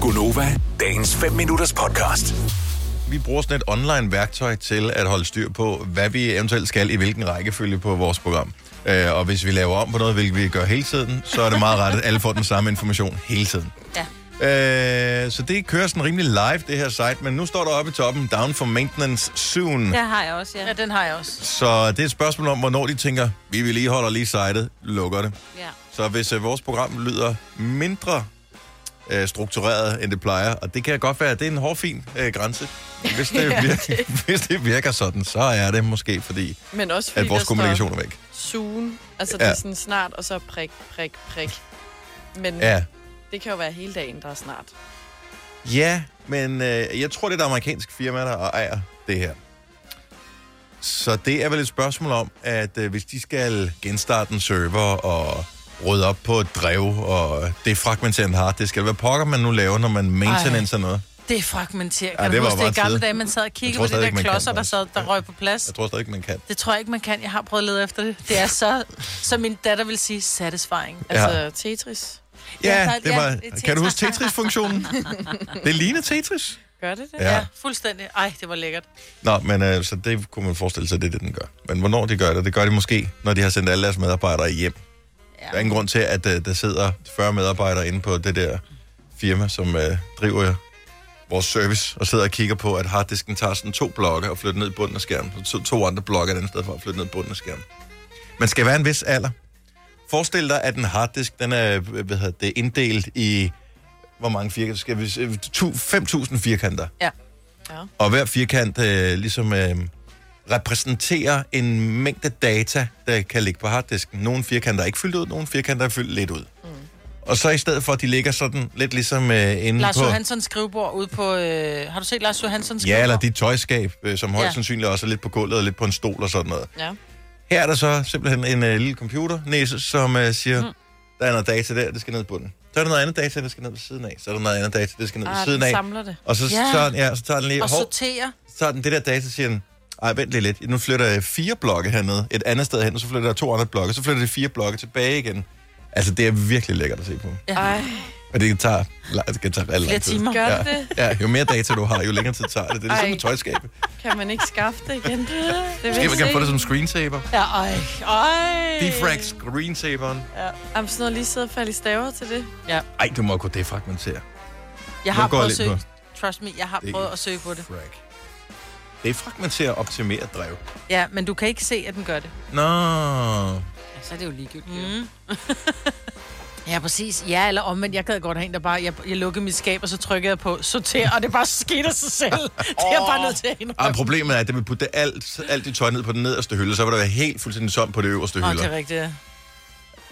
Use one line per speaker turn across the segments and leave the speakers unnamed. Gunova, dagens 5 minutters podcast.
vi bruger sådan et online værktøj til at holde styr på, hvad vi eventuelt skal i hvilken rækkefølge på vores program. Øh, og hvis vi laver om på noget, hvilket vi gør hele tiden, så er det meget rart, at alle får den samme information hele tiden.
Ja.
Øh, så det kører sådan rimelig live, det her site, men nu står der oppe i toppen, down for maintenance soon.
Det har jeg også, ja.
Ja, den har jeg også.
Så det er et spørgsmål om, hvornår de tænker, vi vedligeholder lige sitet, lukker det.
ja.
Så hvis øh, vores program lyder mindre øh, struktureret, end det plejer, og det kan godt være, at det er en hårfin øh, grænse. Hvis det, virker, hvis det virker sådan, så er det måske fordi,
Men også fordi
at vores
der står
kommunikation er væk.
soon. Altså,
Ja.
det er sådan snart, og så prik, prik, prik. Men ja.
Ja,
det kan jo være hele dagen, der er snart.
ja men øh, jeg tror, det er et amerikansk firma, der ejer det her. Så det er vel et spørgsmål om, at øh, hvis de skal genstarte en server og rydde op på et drev, og det fragmenterede en harddisk, eller hvad pokker man nu laver, når man maintenance og noget.
Det er fragmenteret. Kan
Ej,
ja,
det
det
var
du huske det i
bare
gamle
tid.
dage, man sad og
Jeg
kiggede
tror
på de
stadig
der
ikke, man kan,
klodser, der
faktisk.
sad, der røg på plads?
Jeg tror stadig ikke, man kan.
Det tror jeg ikke, man kan. Jeg har prøvet at lede efter det. Det er så, som min datter vil sige, satisfying.
Altså, ja. Tetris.
Ja,
Ja,
ja
der-
det
ja,
var...
det er
kan du huske Tetris-funktionen? det ligner Tetris.
Gør det det?
Ja.
Fuldstændig. Ej, det var lækkert.
Nå, men øh, så det kunne man forestille sig, det er det, den gør. Men hvornår de gør det, det gør de måske, når de har sendt alle deres medarbejdere hjem. Ja. Der er ingen grund til, at øh, der sidder 40 medarbejdere inde på det der firma, som øh, driver vores service, og sidder og kigger på, at harddisken tager sådan to blokke og flytter ned i bunden af skærmen. Så to, to andre blokke er den sted for at flytte ned i bunden af skærmen. Man skal være en vis alder. Forestil dig, at en harddisk, den er øh, hvad hedder det, inddelt i, hvor mange firkanter skal vi, øh, tu- 5.000 firkanter.
Ja.
Ja.
Og hver firkant øh, ligesom øh, repræsenterer en mængde data, der kan ligge på harddisken. Nogle firkanter er ikke fyldt ud, nogle firkanter er fyldt lidt ud. Mm. Og så i stedet for, at de ligger sådan lidt ligesom øh, inde
Lars
på...
Johanssons skrivebord ude på... Øh, har du set Lars Johanssons skrivebord?
Ja, eller dit tøjskab, øh, som højst ja.
Ja.
sandsynligt også er lidt på gulvet og lidt på en stol og sådan noget.
Ja.
Her er der så simpelthen en øh, lille computer, næse, som øh, siger, mm. der er noget data der, det skal ned i bunden. Så er der noget andet data, der skal ned ved siden af. Så er der noget andet data, der skal ned ved
Ah,
siden
den
af.
samler det.
Og så,
Ja.
ja. så, ja, så tager den lige...
Og
hov,
sorterer.
så tager den det der data, siger den, ej, vent lige lidt, nu flytter jeg fire blokke hernede, et andet sted hen, og så flytter jeg to andre blokke, så flytter de fire blokke tilbage igen. Altså, det er virkelig lækkert at se på.
Ej,
Og det tager, la- det kan tage alt
Flere
lang tid.
timer.
gør
Ja,
det det?
ja, jo mere data du har, jo længere tid tager det. Det er ligesom
Ej.
med tøjskab.
Kan man ikke skaffe det igen? Det vil
Måske
jeg
man kan
se.
få det som screensaver.
Ja, ej, ej.
Defrag screensaveren.
Jamen, sådan noget lige sidde og falde i staver til det.
Ej, du må jo kunne defragmentere.
Jeg har
Nu går
prøvet at
jeg lidt
søge. Trust me, jeg har
Det-
prøvet at søge på det.
Frag. Defragmentere og optimere drev.
Ja, men du kan ikke se, at den gør det.
Nå.
Så er det jo ligegyldigt. Mm.
Ja, præcis. Ja, eller omvendt. Jeg gad godt have en, der bare... Jeg, jeg lukkede mit skab, og så trykkede jeg på sorter, og det bare skete af sig selv. Det er jeg bare nødt til at indrømme.
Ej, problemet er, at det vil putte alt, alt dit tøj ned på den nederste hylde, så vil der være helt fuldstændig tomt på det øverste
Nå,
hylde.
det er rigtigt. ja.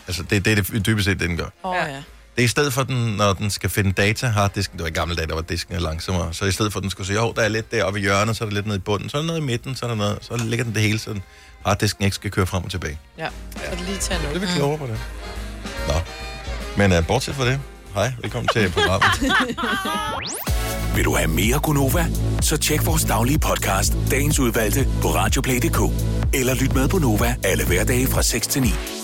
Altså, det, det er det dybest set, det den gør.
Åh, oh, ja.
Det er i stedet for, den, når den skal finde data, har disken, det var i gamle dage, der var disken langsommere, så i stedet for, at den skulle sige, jo, der er lidt deroppe i hjørnet, så er der lidt nede i bunden, så er der noget i midten, så er der noget, så ligger den det hele, så harddisken ikke skal køre frem og tilbage.
Ja, så lige tage
Det er
noget.
vi klogere på det. Nå. Men uh, bortset fra det, hej, velkommen til programmet.
Vil du have mere Gunova? Så tjek vores daglige podcast, dagens udvalgte, på radioplay.dk. Eller lyt med på Nova alle hverdage fra 6 til 9.